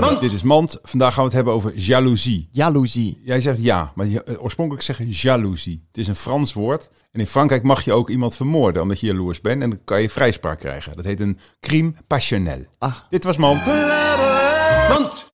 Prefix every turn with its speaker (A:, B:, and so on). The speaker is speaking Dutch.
A: Mand.
B: Eh, Dit is Mand. Vandaag gaan we het hebben over jaloezie.
A: Jaloezie.
B: Jij zegt ja, maar je- eh, oorspronkelijk zeggen jaloezie. Het is een Frans woord. En in Frankrijk mag je ook iemand vermoorden omdat je jaloers bent. En dan kan je vrijspraak krijgen. Dat heet een crime passionnel.
A: Ah.
B: Dit was Mand.
A: Mand.